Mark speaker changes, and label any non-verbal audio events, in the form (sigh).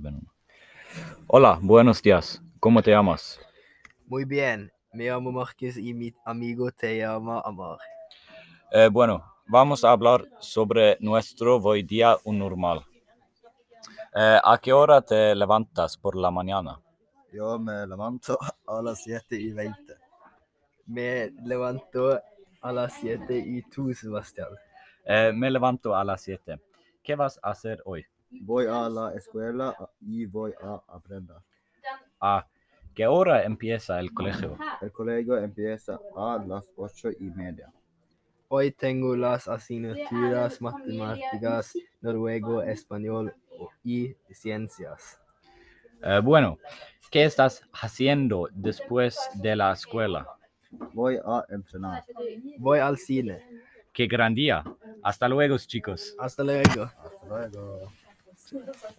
Speaker 1: ven. Hola, buenos días. ¿Cómo te llamas?
Speaker 2: Muy bien, me llamo Marqués y mi amigo te llama Amar.
Speaker 1: Eh, bueno, vamos a hablar sobre nuestro hoy día normal. Eh, ¿A qué hora te levantas por la mañana?
Speaker 3: Yo me levanto (laughs) a las 7 y 20.
Speaker 2: Me levanto a las 7 y tú, Sebastián.
Speaker 1: Eh, me levanto a las 7. ¿Qué vas a hacer hoy?
Speaker 3: Voy a la escuela y voy a aprender.
Speaker 1: ¿A qué hora empieza el colegio?
Speaker 3: El colegio empieza a las 8 y media.
Speaker 2: Hoy tengo las asignaturas matemáticas, noruego, español y ciencias.
Speaker 1: Eh, bueno, ¿qué estás haciendo después de la escuela?
Speaker 3: Voy a entrenar.
Speaker 2: Voy al cine.
Speaker 1: ¡Qué gran día! Hasta luego, chicos.
Speaker 2: Hasta luego.
Speaker 3: Hasta luego.